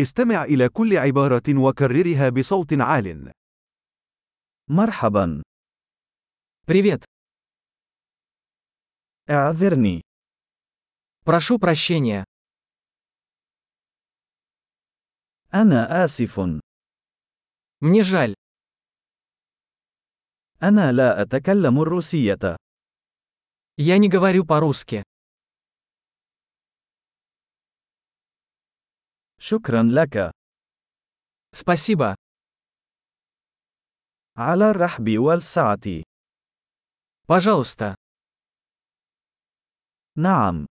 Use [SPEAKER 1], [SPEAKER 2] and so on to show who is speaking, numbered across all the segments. [SPEAKER 1] استمع إلى كل عبارة وكررها بصوت عال.
[SPEAKER 2] مرحبا
[SPEAKER 3] Привет.
[SPEAKER 2] اعذرني
[SPEAKER 3] Прошу прощения.
[SPEAKER 2] انا اسف
[SPEAKER 3] Мне жаль.
[SPEAKER 2] انا لا اتكلم الروسيه
[SPEAKER 3] Я не говорю по-русски.
[SPEAKER 2] شكرا لك
[SPEAKER 3] Спасибо.
[SPEAKER 2] على الرحب والسعه
[SPEAKER 3] Пожалуйста.
[SPEAKER 2] نعم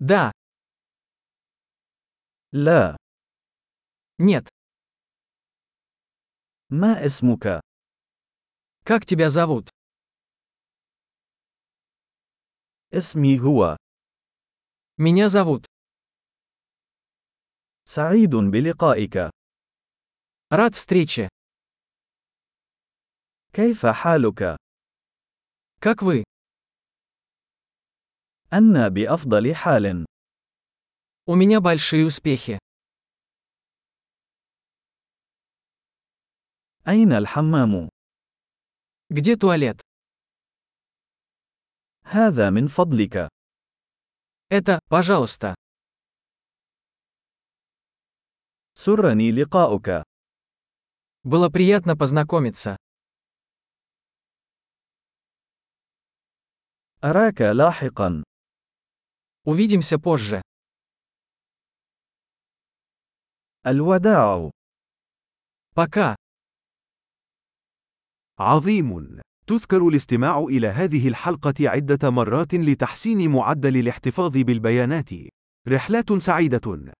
[SPEAKER 3] Да.
[SPEAKER 2] لا
[SPEAKER 3] Нет.
[SPEAKER 2] ما اسمك
[SPEAKER 3] Как тебя зовут?
[SPEAKER 2] اسمي هو
[SPEAKER 3] Меня зовут.
[SPEAKER 2] سعيد بلقائك
[SPEAKER 3] Рад встрече.
[SPEAKER 2] كيف حالك
[SPEAKER 3] Как вы?
[SPEAKER 2] انا بافضل حال
[SPEAKER 3] У меня большие успехи.
[SPEAKER 2] اين الحمام
[SPEAKER 3] Где туалет?
[SPEAKER 2] هذا من فضلك
[SPEAKER 3] Это, пожалуйста.
[SPEAKER 2] سرني لقاؤك
[SPEAKER 3] Было приятно познакомиться.
[SPEAKER 2] اراك لاحقا
[SPEAKER 3] Увидимся позже.
[SPEAKER 2] الوداع
[SPEAKER 3] Пока.
[SPEAKER 1] عظيم. تذكر الاستماع إلى هذه الحلقة عدة مرات لتحسين معدل الاحتفاظ بالبيانات. رحلات سعيدة.